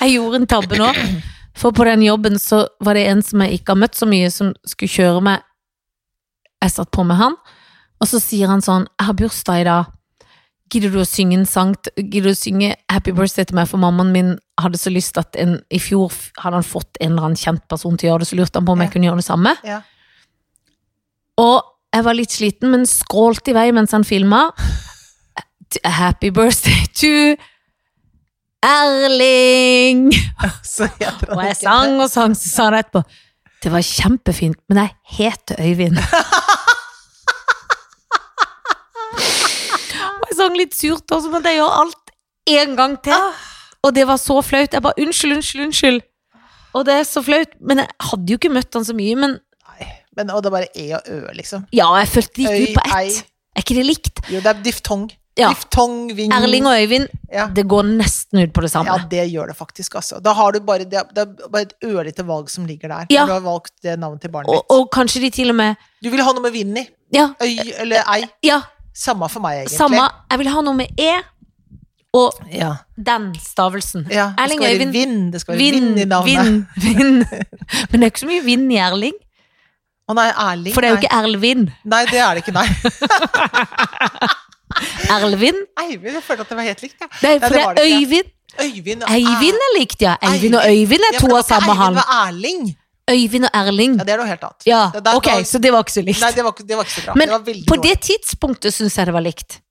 Speaker 2: jeg gjorde en tabbe nå. For på den jobben så var det en som jeg ikke har møtt så mye, som skulle kjøre meg. Jeg satt på med han, og så sier han sånn, jeg har bursdag i dag. Gidder du å synge en sang, t- gidder du å synge Happy Birthday til meg, for mammaen min hadde så lyst at en, i fjor f- hadde han fått en eller annen kjent person til å gjøre det, så lurte han på om jeg
Speaker 1: Ja.
Speaker 2: kunne gjøre det samme.
Speaker 1: Ja.
Speaker 2: Og jeg var litt sliten, men skrålte i vei mens han filma. Happy birthday to Erling!
Speaker 1: Så heter han
Speaker 2: Og jeg
Speaker 1: ikke
Speaker 2: sang og sang, så sa han etterpå Det var kjempefint, men jeg heter Øyvind. og jeg sang litt surt også, men jeg gjør alt en gang til.
Speaker 1: Ah.
Speaker 2: Og det var så flaut. Jeg bare unnskyld, unnskyld, unnskyld. Og det er så flaut. Men jeg hadde jo ikke møtt han så mye. Men
Speaker 1: Nei, men, og det er bare e og ø, liksom.
Speaker 2: ja, jeg følte det gikk ut på
Speaker 1: Øy, ei.
Speaker 2: ett. Er ikke det likt?
Speaker 1: Jo, det er diftong.
Speaker 2: Ja.
Speaker 1: Diftong, ving
Speaker 2: Erling og Øyvind,
Speaker 1: Mm. ja.
Speaker 2: det går nesten ut på det
Speaker 1: ja,
Speaker 2: samme.
Speaker 1: det gjør det faktisk, altså. Da har du bare, det er, det er bare et ørlite valg som ligger der.
Speaker 2: Ja.
Speaker 1: Når Du har valgt det navnet til barnet
Speaker 2: Og,
Speaker 1: ditt.
Speaker 2: og kanskje de til og med
Speaker 1: Du vil ha noe med vind i.
Speaker 2: Ja,
Speaker 1: Øy eller ei.
Speaker 2: ja
Speaker 1: Samme for meg, egentlig.
Speaker 2: samme. Jeg vil ha noe med E og
Speaker 1: Ja.
Speaker 2: den stavelsen.
Speaker 1: ja. Det
Speaker 2: Erling
Speaker 1: skal være
Speaker 2: Øyvind.
Speaker 1: vind. Det skal være vind,
Speaker 2: Vind,
Speaker 1: i navnet.
Speaker 2: vind, vind. Men det er ikke så mye vind i Erling.
Speaker 1: Å nei, Erling.
Speaker 2: For det er jo
Speaker 1: nei.
Speaker 2: ikke Erlvin.
Speaker 1: Nei, det er det ikke. Nei.
Speaker 2: Erlvin?
Speaker 1: Eivind, jeg følte at det var helt likt. Ja.
Speaker 2: Nei, for det
Speaker 1: var
Speaker 2: er
Speaker 1: det ikke.
Speaker 2: Øyvind.
Speaker 1: Øyvind og
Speaker 2: Eivind er likt, ja. Eivind og Øyvind er to av samme han.
Speaker 1: altså, Eivind og Erling.
Speaker 2: Øyvind og Erling.
Speaker 1: Ja, det er noe helt annet.
Speaker 2: Ja,
Speaker 1: Det der
Speaker 2: ok,
Speaker 1: var-
Speaker 2: så det var ikke så likt.
Speaker 1: Nei, det var, ikke- det var ikke så bra.
Speaker 2: Men
Speaker 1: det var veldig
Speaker 2: På
Speaker 1: dårlig.
Speaker 2: det tidspunktet syns jeg det var likt.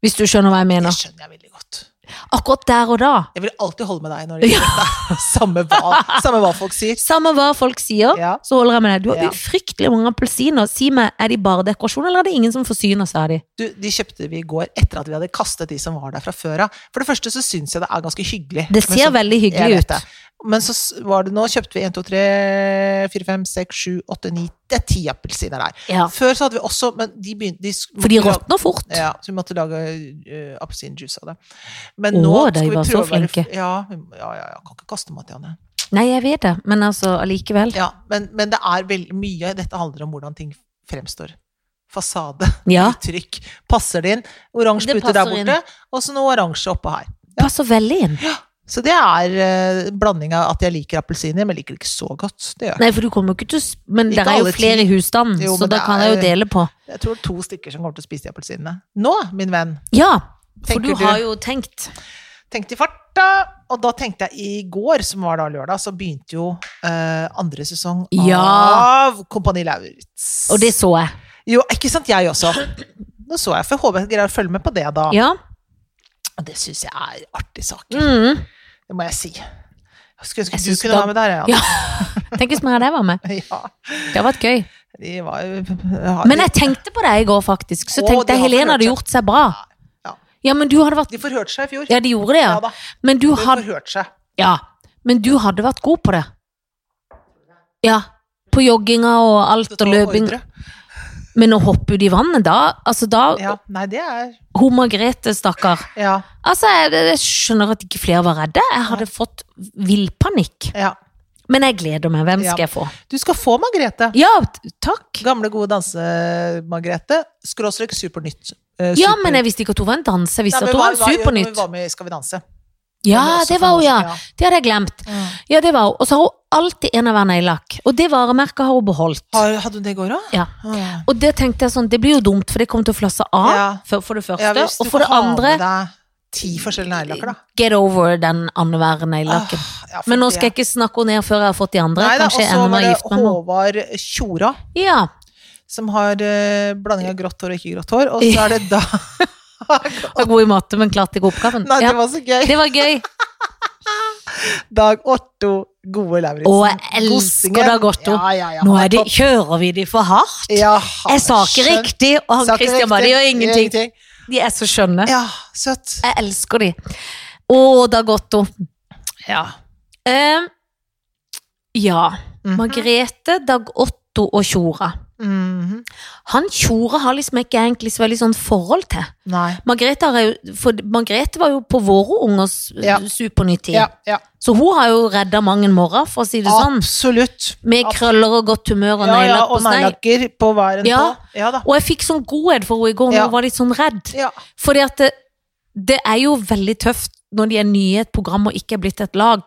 Speaker 2: Hvis du skjønner hva jeg
Speaker 1: Det
Speaker 2: mener.
Speaker 1: skjønner jeg veldig godt.
Speaker 2: Akkurat der og da.
Speaker 1: Jeg vil alltid holde med deg når det gjelder dette. Samme hva, samme hva folk sier.
Speaker 2: Samme hva folk sier,
Speaker 1: Ja.
Speaker 2: så holder jeg med deg. Du har
Speaker 1: Ja.
Speaker 2: fryktelig mange appelsiner. Si meg, er de bare dekorasjon, eller er det ingen som forsyner seg av de?
Speaker 1: Du, de kjøpte vi i går etter at vi hadde kastet de som var der fra før av. For det første så syns jeg det er ganske hyggelig.
Speaker 2: Det
Speaker 1: Men
Speaker 2: ser
Speaker 1: så-
Speaker 2: veldig
Speaker 1: jeg
Speaker 2: hyggelig
Speaker 1: vet
Speaker 2: ut.
Speaker 1: det. Men så s- var det nå kjøpte vi 1, 2, 3, 4, 5, 6, 7, 8, 9 Det er ti appelsiner der.
Speaker 2: Ja.
Speaker 1: Før så hadde vi også, men de begynte de, sk-
Speaker 2: For de
Speaker 1: måtte lage-
Speaker 2: råtner fort.
Speaker 1: Ja, så vi måtte lage eh, appelsinjuice av det. Men
Speaker 2: Å,
Speaker 1: nå
Speaker 2: de
Speaker 1: skal vi
Speaker 2: var så
Speaker 1: prøve å være f-
Speaker 2: flinke.
Speaker 1: Ja, vi- ja, ja, ja. Kan ikke kaste mat, Janne.
Speaker 2: Nei, jeg vet det, men altså allikevel.
Speaker 1: Ja, men, men det er veldig mye Dette handler om hvordan ting fremstår. Fasade,
Speaker 2: Ja.
Speaker 1: uttrykk. Passer det inn? Oransje
Speaker 2: Det
Speaker 1: putte der
Speaker 2: passer
Speaker 1: borte, og så noe oransje oppå her.
Speaker 2: Passer veldig inn.
Speaker 1: Så det er eh, en blanding av at jeg liker appelsiner, men liker det ikke så godt. Det gjør jeg.
Speaker 2: Nei, for du kommer jo ikke til å s- Men
Speaker 1: Ikke
Speaker 2: det er
Speaker 1: alle
Speaker 2: jo flere
Speaker 1: ti.
Speaker 2: i husstanden,
Speaker 1: Jo,
Speaker 2: så
Speaker 1: men
Speaker 2: da
Speaker 1: det
Speaker 2: kan jeg jo
Speaker 1: er-
Speaker 2: dele på.
Speaker 1: Jeg tror det er to stykker som kommer til å spise de appelsinene. Nå, min venn,
Speaker 2: Ja, for
Speaker 1: Tenker
Speaker 2: du
Speaker 1: du-
Speaker 2: har jo tenkt.
Speaker 1: tenkte i farta, og da tenkte jeg i går, som var da lørdag, så begynte jo eh, andre sesong
Speaker 2: Ja.
Speaker 1: av Kompani Lauritz.
Speaker 2: Og det så jeg.
Speaker 1: Jo, ikke sant, jeg også. Nå så jeg, for jeg håper jeg greier å følge med på det da.
Speaker 2: Ja.
Speaker 1: Og det syns jeg er artig saker.
Speaker 2: Mm.
Speaker 1: Det må jeg si. Jeg skulle ønske
Speaker 2: Jeg
Speaker 1: du
Speaker 2: synes
Speaker 1: kunne
Speaker 2: da-
Speaker 1: være med der,
Speaker 2: Ja.
Speaker 1: ja.
Speaker 2: Tenk hvis mer av deg var med.
Speaker 1: ja.
Speaker 2: Det har vært gøy.
Speaker 1: De var jo ja,
Speaker 2: Men
Speaker 1: de,
Speaker 2: jeg tenkte på deg i går, faktisk. Så
Speaker 1: Å,
Speaker 2: tenkte
Speaker 1: det
Speaker 2: jeg
Speaker 1: har
Speaker 2: Helene hadde
Speaker 1: forhørt
Speaker 2: gjort seg bra.
Speaker 1: Ja.
Speaker 2: Ja, men du hadde vært
Speaker 1: de forhørte seg i fjor.
Speaker 2: Ja, de gjorde det, ja.
Speaker 1: da.
Speaker 2: Men du
Speaker 1: De
Speaker 2: hadde
Speaker 1: forhørte seg.
Speaker 2: Ja. Men du hadde vært god på det. Ja. På jogginga og alt og
Speaker 1: Og
Speaker 2: løping.
Speaker 1: ordre.
Speaker 2: Men å hoppe ut i vannet, da Altså, da
Speaker 1: Ja, nei, det er
Speaker 2: Hun Margrethe, stakkar.
Speaker 1: Ja.
Speaker 2: Altså, jeg, jeg skjønner at ikke flere var redde. Jeg hadde fått villpanikk.
Speaker 1: ja.
Speaker 2: Men jeg gleder meg. Hvem
Speaker 1: Ja.
Speaker 2: skal jeg få?
Speaker 1: Du skal få Margrethe.
Speaker 2: Ja, t- takk.
Speaker 1: Gamle, gode danse-Margrethe. Skråstrek Supernytt. Eh,
Speaker 2: Ja,
Speaker 1: super-
Speaker 2: men jeg visste ikke at hun var en danser.
Speaker 1: Nei,
Speaker 2: Jeg visste
Speaker 1: men
Speaker 2: at hun
Speaker 1: hva-
Speaker 2: var en
Speaker 1: hva- Hun
Speaker 2: supernytt.
Speaker 1: var med i Skal vi danse.
Speaker 2: Ja,
Speaker 1: Hun også
Speaker 2: det
Speaker 1: for
Speaker 2: var
Speaker 1: noen
Speaker 2: hun, ja. Mm.
Speaker 1: år siden,
Speaker 2: Det hadde jeg glemt. Ja, det var hun. Og så har hun alltid en av hver neglelakk. Og det varemerket har hun beholdt.
Speaker 1: Har, hadde hun det i går òg?
Speaker 2: Ja. Og det tenkte jeg sånn, det blir jo dumt, for det kommer til å flasse av,
Speaker 1: Ja.
Speaker 2: for, for det første.
Speaker 1: Ja, hvis du
Speaker 2: og for
Speaker 1: får
Speaker 2: det
Speaker 1: ha med
Speaker 2: andre,
Speaker 1: deg ti forskjellige neglelakker, da.
Speaker 2: get over den annenhver neglelakken.
Speaker 1: Ah, ja, for
Speaker 2: Men nå
Speaker 1: det-
Speaker 2: skal jeg ikke snakke henne ned før jeg har fått de andre.
Speaker 1: Nei, da,
Speaker 2: Kanskje jeg ender med å
Speaker 1: Og
Speaker 2: gifte
Speaker 1: så
Speaker 2: meg med
Speaker 1: var det Håvard Tjora,
Speaker 2: henne. Ja,
Speaker 1: som har eh, blanding av grått hår og ikke grått hår. Og så er det da
Speaker 2: var god i matte, men klarte ikke oppgaven.
Speaker 1: Nei,
Speaker 2: ja.
Speaker 1: det var så gøy!
Speaker 2: det var gøy.
Speaker 1: Dag Otto Gode Lauritzen.
Speaker 2: Å, jeg elsker Dag Otto.
Speaker 1: Ja, ja, ja.
Speaker 2: Nå er det, kjører vi de for hardt.
Speaker 1: ja,
Speaker 2: Jeg sa ikke
Speaker 1: skjønt.
Speaker 2: riktig, og han
Speaker 1: Sa ikke
Speaker 2: Christian bare,
Speaker 1: riktig.
Speaker 2: de gjør ingenting. De er så skjønne.
Speaker 1: Ja, søtt.
Speaker 2: Jeg elsker de. Å, Dag Otto.
Speaker 1: Ja.
Speaker 2: Eh, ja.
Speaker 1: Mhm.
Speaker 2: Margrethe, Dag Otto og Tjora.
Speaker 1: Mhm.
Speaker 2: Han Tjora har liksom ikke egentlig så veldig sånn forhold til.
Speaker 1: Nei.
Speaker 2: Margrethe, har jo, for Margrethe var jo på våre ungers
Speaker 1: Ja.
Speaker 2: supernyttig.
Speaker 1: Ja, ja.
Speaker 2: Så hun har jo redda mange en morgen, for å si det sånn.
Speaker 1: Absolutt.
Speaker 2: Med
Speaker 1: Absolutt.
Speaker 2: krøller og godt humør og
Speaker 1: Ja, ja,
Speaker 2: neglelakk
Speaker 1: og
Speaker 2: på snei.
Speaker 1: neglelakker på hver en
Speaker 2: Ja.
Speaker 1: tå. Ja da.
Speaker 2: Og jeg fikk sånn godhet for henne i går, når
Speaker 1: Ja.
Speaker 2: hun var litt sånn redd.
Speaker 1: Ja.
Speaker 2: Fordi at det, det er jo veldig tøft når de er nye i et program og ikke er blitt et lag.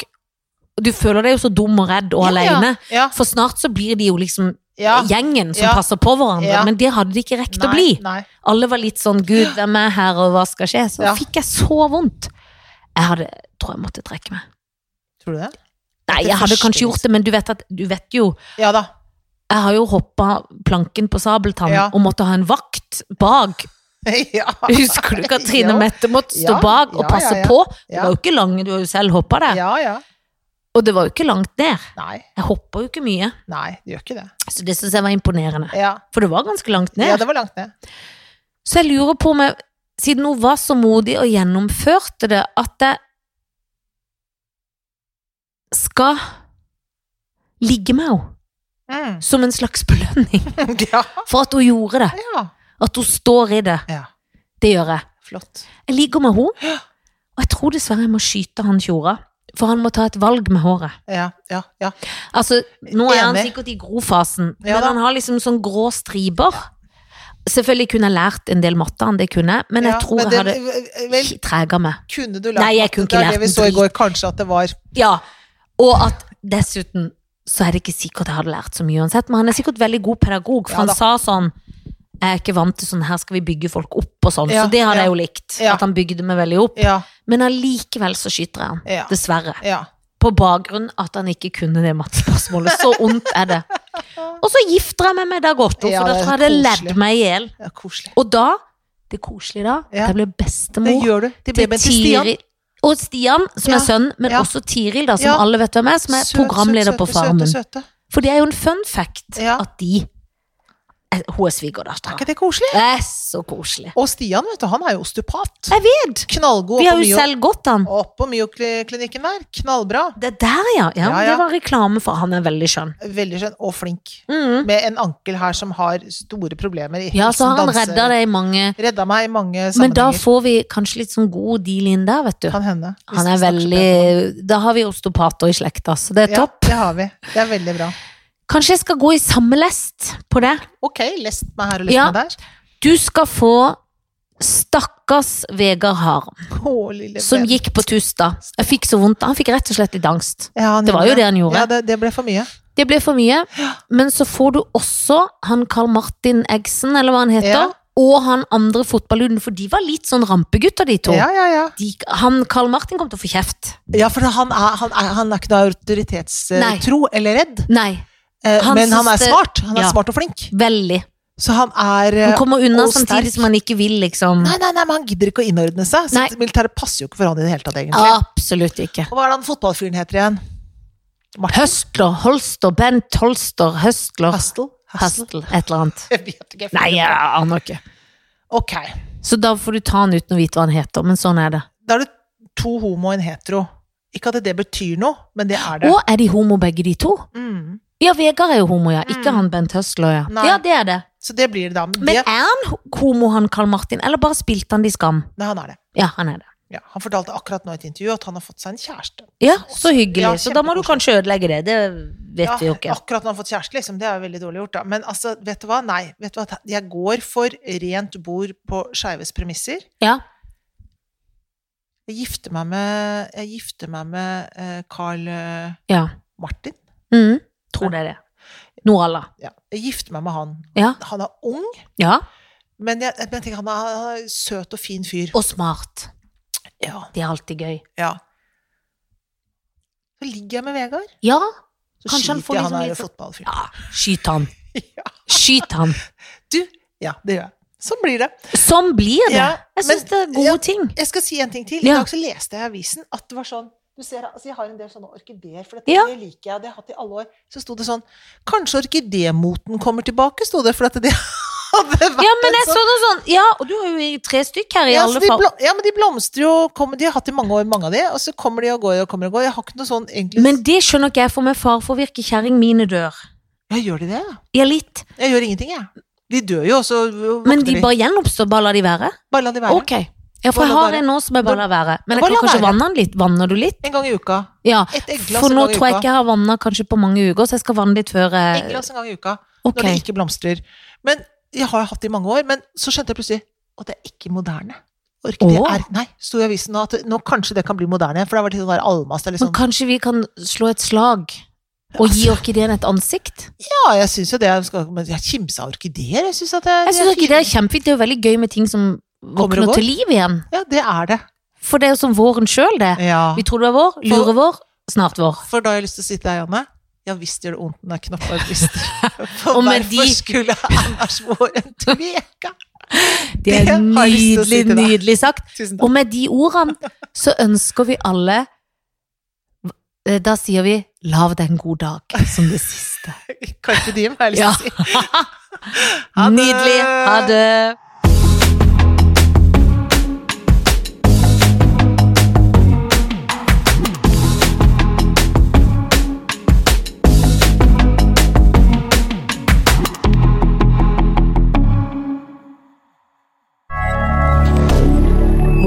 Speaker 2: Du føler deg jo så dum og redd og
Speaker 1: Ja, ja.
Speaker 2: alene.
Speaker 1: Ja.
Speaker 2: For snart så blir de jo liksom
Speaker 1: ja.
Speaker 2: gjengen som
Speaker 1: Ja.
Speaker 2: passer på hverandre.
Speaker 1: Ja.
Speaker 2: Men det hadde de ikke rekt å
Speaker 1: Nei,
Speaker 2: bli.
Speaker 1: Nei.
Speaker 2: Alle var litt sånn 'Gud, hvem er her, og hva skal skje?' Så
Speaker 1: Ja.
Speaker 2: fikk jeg så vondt. Jeg hadde, tror jeg måtte trekke meg.
Speaker 1: Tror du det?
Speaker 2: Nei,
Speaker 1: Etter
Speaker 2: jeg hadde
Speaker 1: første
Speaker 2: kanskje gjort det, men du vet, at, du vet jo
Speaker 1: Ja da.
Speaker 2: Jeg har jo hoppa planken på Sabeltann
Speaker 1: Ja.
Speaker 2: og måtte ha en vakt bak.
Speaker 1: ja.
Speaker 2: Husker du ikke at Trine
Speaker 1: Jo.
Speaker 2: Mette måtte stå
Speaker 1: Ja,
Speaker 2: bak og
Speaker 1: ja,
Speaker 2: passe
Speaker 1: ja, ja.
Speaker 2: på? Det
Speaker 1: Ja.
Speaker 2: var jo ikke langt, du har jo selv hoppa der.
Speaker 1: Ja, ja.
Speaker 2: Og det var jo ikke langt ned.
Speaker 1: Nei.
Speaker 2: Jeg hoppa jo ikke mye,
Speaker 1: Nei, det gjør ikke det.
Speaker 2: så det syns jeg var imponerende.
Speaker 1: Ja.
Speaker 2: For det var ganske langt ned.
Speaker 1: ja, det var langt ned.
Speaker 2: Så jeg lurer på om jeg, siden hun var så modig og gjennomførte det, at jeg skal ligge med henne.
Speaker 1: Mm.
Speaker 2: Som en slags belønning
Speaker 1: ja.
Speaker 2: for at hun gjorde det.
Speaker 1: ja.
Speaker 2: At hun står i det.
Speaker 1: Ja.
Speaker 2: Det gjør jeg.
Speaker 1: Flott.
Speaker 2: Jeg ligger med henne,
Speaker 1: Ja.
Speaker 2: og jeg tror dessverre jeg må skyte han Tjora. For han må ta et valg med håret.
Speaker 1: Ja, ja, ja.
Speaker 2: Altså, Nå er han
Speaker 1: Enig.
Speaker 2: sikkert i grofasen,
Speaker 1: Ja
Speaker 2: men
Speaker 1: da.
Speaker 2: han har liksom sånn grå striper. Selvfølgelig kunne jeg lært en del matte, han, det kunne jeg, men jeg
Speaker 1: ja,
Speaker 2: tror
Speaker 1: men
Speaker 2: jeg
Speaker 1: det-
Speaker 2: hadde
Speaker 1: Vel,
Speaker 2: trega meg.
Speaker 1: kunne du lært
Speaker 2: Nei, jeg
Speaker 1: matte?
Speaker 2: kunne ikke
Speaker 1: Det er
Speaker 2: lært
Speaker 1: det vi
Speaker 2: en
Speaker 1: så i
Speaker 2: drit.
Speaker 1: går, kanskje at det var
Speaker 2: Ja, og at dessuten så er det ikke sikkert jeg hadde lært så mye uansett. Men han er sikkert veldig god pedagog, for
Speaker 1: Ja da.
Speaker 2: han sa sånn Jeg er ikke vant til sånn her skal vi bygge folk opp og sånn.
Speaker 1: Ja,
Speaker 2: så det hadde
Speaker 1: ja.
Speaker 2: jeg jo likt.
Speaker 1: Ja.
Speaker 2: At han bygde meg veldig opp.
Speaker 1: Ja,
Speaker 2: Men allikevel så skyter jeg han.
Speaker 1: ja,
Speaker 2: Dessverre.
Speaker 1: ja.
Speaker 2: På bakgrunn at han ikke kunne det mattespørsmålet. Så ondt er det. Og så gifter jeg meg med Dag Otto,
Speaker 1: Ja,
Speaker 2: for
Speaker 1: det
Speaker 2: da
Speaker 1: er
Speaker 2: tror jeg det
Speaker 1: koselig.
Speaker 2: ledd meg i hjel.
Speaker 1: Det er koselig.
Speaker 2: Og da Det koselige da,
Speaker 1: Ja.
Speaker 2: jeg ble
Speaker 1: Det
Speaker 2: bestemor
Speaker 1: gjør du. Til babyen til Stian.
Speaker 2: Tiril. Og Stian, som
Speaker 1: Ja,
Speaker 2: er sønn, men
Speaker 1: ja.
Speaker 2: også Tiril, da, som
Speaker 1: Ja.
Speaker 2: alle vet hvem er, som er
Speaker 1: Søt, søt,
Speaker 2: programleder på
Speaker 1: søte,
Speaker 2: Farmen.
Speaker 1: Søte, søte.
Speaker 2: For det er jo en fun fact
Speaker 1: Ja.
Speaker 2: at de er- Hun er
Speaker 1: Er
Speaker 2: svigerdattera.
Speaker 1: ikke det koselig?
Speaker 2: Det er så koselig.
Speaker 1: Og Stian, vet du, han er jo osteopat.
Speaker 2: Jeg vet!
Speaker 1: Knallgod
Speaker 2: Vi
Speaker 1: opp
Speaker 2: har
Speaker 1: på
Speaker 2: jo
Speaker 1: myo-
Speaker 2: selv gått han.
Speaker 1: opp på myoklinikken der. Knallbra.
Speaker 2: Det er der, ja. ja,
Speaker 1: Ja, ja.
Speaker 2: Det var reklame for han er veldig skjønn.
Speaker 1: Veldig skjønn og flink.
Speaker 2: Mm.
Speaker 1: Med en ankel her som har store problemer i
Speaker 2: Ja, så har han
Speaker 1: danser-
Speaker 2: redda det i mange
Speaker 1: Redda meg i mange sammenhenger.
Speaker 2: Men da får vi kanskje litt sånn god deal inn der, vet du.
Speaker 1: kan hende. hvis
Speaker 2: Han
Speaker 1: vi
Speaker 2: er
Speaker 1: snakker pent
Speaker 2: veldig Da har vi osteopater i slekta, så det
Speaker 1: om han.
Speaker 2: er topp.
Speaker 1: Ja, det har vi. Det er veldig bra.
Speaker 2: Kanskje jeg skal gå i samme lest på det.
Speaker 1: Ok, lest meg her og lest
Speaker 2: Ja.
Speaker 1: meg der.
Speaker 2: Du skal få stakkars Vegard Harm,
Speaker 1: Å, lille
Speaker 2: som
Speaker 1: venn.
Speaker 2: gikk på Tusta. Jeg fikk så vondt. Han fikk rett og slett litt angst.
Speaker 1: Ja, han
Speaker 2: Det var
Speaker 1: gjorde
Speaker 2: jo det han gjorde.
Speaker 1: Ja, det, det ble for mye.
Speaker 2: Det ble for mye. Men så får du også han Carl Martin Eggsen, eller hva han heter,
Speaker 1: Ja.
Speaker 2: og han andre fotballuden, for de var litt sånn rampegutter, de to.
Speaker 1: Ja, ja, ja.
Speaker 2: De, han Carl Martin kom til å få kjeft.
Speaker 1: Ja, for han er, han er, han er ikke noe
Speaker 2: Nei.
Speaker 1: autoritetstro eller redd,
Speaker 2: Nei,
Speaker 1: eh,
Speaker 2: Han
Speaker 1: men han er
Speaker 2: synes det-
Speaker 1: smart. Han er
Speaker 2: Ja.
Speaker 1: smart og flink.
Speaker 2: veldig.
Speaker 1: Så han er eh,
Speaker 2: Han kommer unna
Speaker 1: og
Speaker 2: samtidig
Speaker 1: sterk.
Speaker 2: som han ikke vil, liksom.
Speaker 1: Nei, nei, nei, men han gidder ikke å innordne seg. Så
Speaker 2: Nei. Ah.
Speaker 1: militæret passer jo ikke for han i det hele tatt, egentlig.
Speaker 2: Absolutt ikke.
Speaker 1: Og hva er det han fotballfyren heter igjen?
Speaker 2: Høstler, Holster, Bent Holster, Høstler,
Speaker 1: Hastel? Hastel?
Speaker 2: Høstel, et eller annet.
Speaker 1: Jeg vet ikke. jeg
Speaker 2: Nei,
Speaker 1: finner
Speaker 2: jeg
Speaker 1: det på.
Speaker 2: aner ikke.
Speaker 1: Ok.
Speaker 2: Så da får du ta han uten å vite hva han heter, men sånn er det.
Speaker 1: Da er det to homo og en hetero. Ikke at det betyr noe, men det er det.
Speaker 2: Og er de homo begge de to?
Speaker 1: Mm.
Speaker 2: Ja, Vegard er jo homo, ja. Ikke
Speaker 1: Mm.
Speaker 2: han Bent Høstler, ja.
Speaker 1: Nei.
Speaker 2: Ja, det er det.
Speaker 1: Så det blir det da. Men
Speaker 2: Men
Speaker 1: det,
Speaker 2: er han ho- homo, han Carl Martin, eller bare spilte han det i Skam?
Speaker 1: nei, han er det.
Speaker 2: Ja, han er det.
Speaker 1: Ja, han fortalte akkurat nå i et intervju at han har fått seg en kjæreste.
Speaker 2: Ja, så hyggelig.
Speaker 1: Ja,
Speaker 2: så da må du
Speaker 1: kjempekoselig.
Speaker 2: kanskje ødelegge det. Det vet
Speaker 1: Ja,
Speaker 2: vi jo ikke.
Speaker 1: Akkurat når han har fått kjæreste, liksom. Det er jo veldig dårlig gjort, da. Men altså, vet du hva? Nei. Vet du hva? Jeg går for rent bord på skeives premisser.
Speaker 2: Ja.
Speaker 1: Jeg gifter meg med, jeg gifter meg med eh, Carl eh,
Speaker 2: ja.
Speaker 1: Martin.
Speaker 2: Mm. Tror det er det. Noralla.
Speaker 1: Ja. Jeg gifter meg med han.
Speaker 2: Ja.
Speaker 1: Han er ung,
Speaker 2: Ja.
Speaker 1: men jeg, men jeg tenker han er, han er søt og fin fyr.
Speaker 2: Og smart.
Speaker 1: Ja.
Speaker 2: Det er alltid gøy.
Speaker 1: ja. Så ligger jeg med Vegard.
Speaker 2: Ja,
Speaker 1: Så
Speaker 2: Kanskje han
Speaker 1: skyter
Speaker 2: får
Speaker 1: jeg
Speaker 2: liksom
Speaker 1: han
Speaker 2: litt
Speaker 1: er
Speaker 2: sånn-
Speaker 1: fotballfyr.
Speaker 2: ja. Skyt han.
Speaker 1: Ja.
Speaker 2: Skyt han.
Speaker 1: Du, ja, det gjør jeg. Sånn blir det.
Speaker 2: Sånn blir det.
Speaker 1: Ja,
Speaker 2: Jeg syns
Speaker 1: men-
Speaker 2: det er
Speaker 1: ja.
Speaker 2: gode ting.
Speaker 1: Jeg skal si en ting til. I
Speaker 2: Ja.
Speaker 1: dag så leste jeg i avisen at det var sånn du ser, altså Jeg har en del sånne orkideer, for dette
Speaker 2: Ja.
Speaker 1: det liker jeg. Det har jeg hatt i alle år. Så sto det sånn Kanskje orkidemoten kommer tilbake, sto det. For at det hadde vært
Speaker 2: Ja, men
Speaker 1: en
Speaker 2: jeg så det sånn. Ja, og du har jo i tre stykk her i
Speaker 1: ja, så
Speaker 2: alle
Speaker 1: de
Speaker 2: fall.
Speaker 1: blom- ja, men de blomstrer jo kommer, De har hatt i mange år, mange av de. Og så kommer de og går og kommer og går. Jeg har ikke noe sånn egentlig
Speaker 2: Men det skjønner ikke jeg, for med far for virke kjerring mine dør.
Speaker 1: Ja, gjør de det? ja?
Speaker 2: Ja, litt.
Speaker 1: Jeg gjør ingenting, jeg. De dør jo, og så våkner
Speaker 2: Men de bare gjenoppstår, bare la de være?
Speaker 1: Bare la de være.
Speaker 2: Ok. Ja, for
Speaker 1: Bare
Speaker 2: jeg
Speaker 1: la
Speaker 2: har
Speaker 1: være.
Speaker 2: en nå som jeg bare lar være. Men jeg
Speaker 1: Bare
Speaker 2: kan
Speaker 1: la
Speaker 2: kanskje
Speaker 1: være.
Speaker 2: vanne den litt. Vanner du litt?
Speaker 1: En gang i uka.
Speaker 2: Ja.
Speaker 1: Et egglass
Speaker 2: For
Speaker 1: en
Speaker 2: nå
Speaker 1: gang i
Speaker 2: tror jeg
Speaker 1: uka.
Speaker 2: ikke jeg har vanna kanskje på mange uker, så jeg skal vanne litt før
Speaker 1: Et
Speaker 2: jeg
Speaker 1: glass en gang i uka.
Speaker 2: Ok.
Speaker 1: Når det ikke blomstrer. Men jeg har hatt det i mange år, men så skjønte jeg plutselig at det er ikke moderne. Orkidé
Speaker 2: Åh.
Speaker 1: er Nei, sto i avisen nå at nå kanskje det kan bli moderne, for det har vært litt sånn der almast eller
Speaker 2: Men
Speaker 1: sånn.
Speaker 2: kanskje vi kan slå et slag? Og gi orkideen et ansikt?
Speaker 1: Ja, jeg syns jo det. Jeg skal- Men jeg kimsa av orkideer. Jeg syns at det,
Speaker 2: Jeg syns orkideer er kjempefint. Det er jo veldig gøy med ting som
Speaker 1: Kommer og
Speaker 2: våkner
Speaker 1: går.
Speaker 2: til liv igjen.
Speaker 1: Ja, det er det.
Speaker 2: For det er jo som våren sjøl, det.
Speaker 1: Ja.
Speaker 2: Vi tror det var vår, lurer vår, snart vår.
Speaker 1: For da har jeg lyst til å si til deg, Janne. Ja visst gjør det vondt når det er knopper og brister. For
Speaker 2: Og med
Speaker 1: derfor
Speaker 2: de-
Speaker 1: skulle Anders våren tveka.
Speaker 2: Det
Speaker 1: Det
Speaker 2: er
Speaker 1: har jeg lyst til å si
Speaker 2: nydelig,
Speaker 1: til deg.
Speaker 2: nydelig sagt.
Speaker 1: Tusen
Speaker 2: Og
Speaker 1: takk.
Speaker 2: med de ordene så ønsker vi alle eh, Da sier vi 'lav deg en god dag' som det siste.
Speaker 1: Carpe diem, har jeg lyst til å si. Ha det.
Speaker 2: Nydelig. Ha det.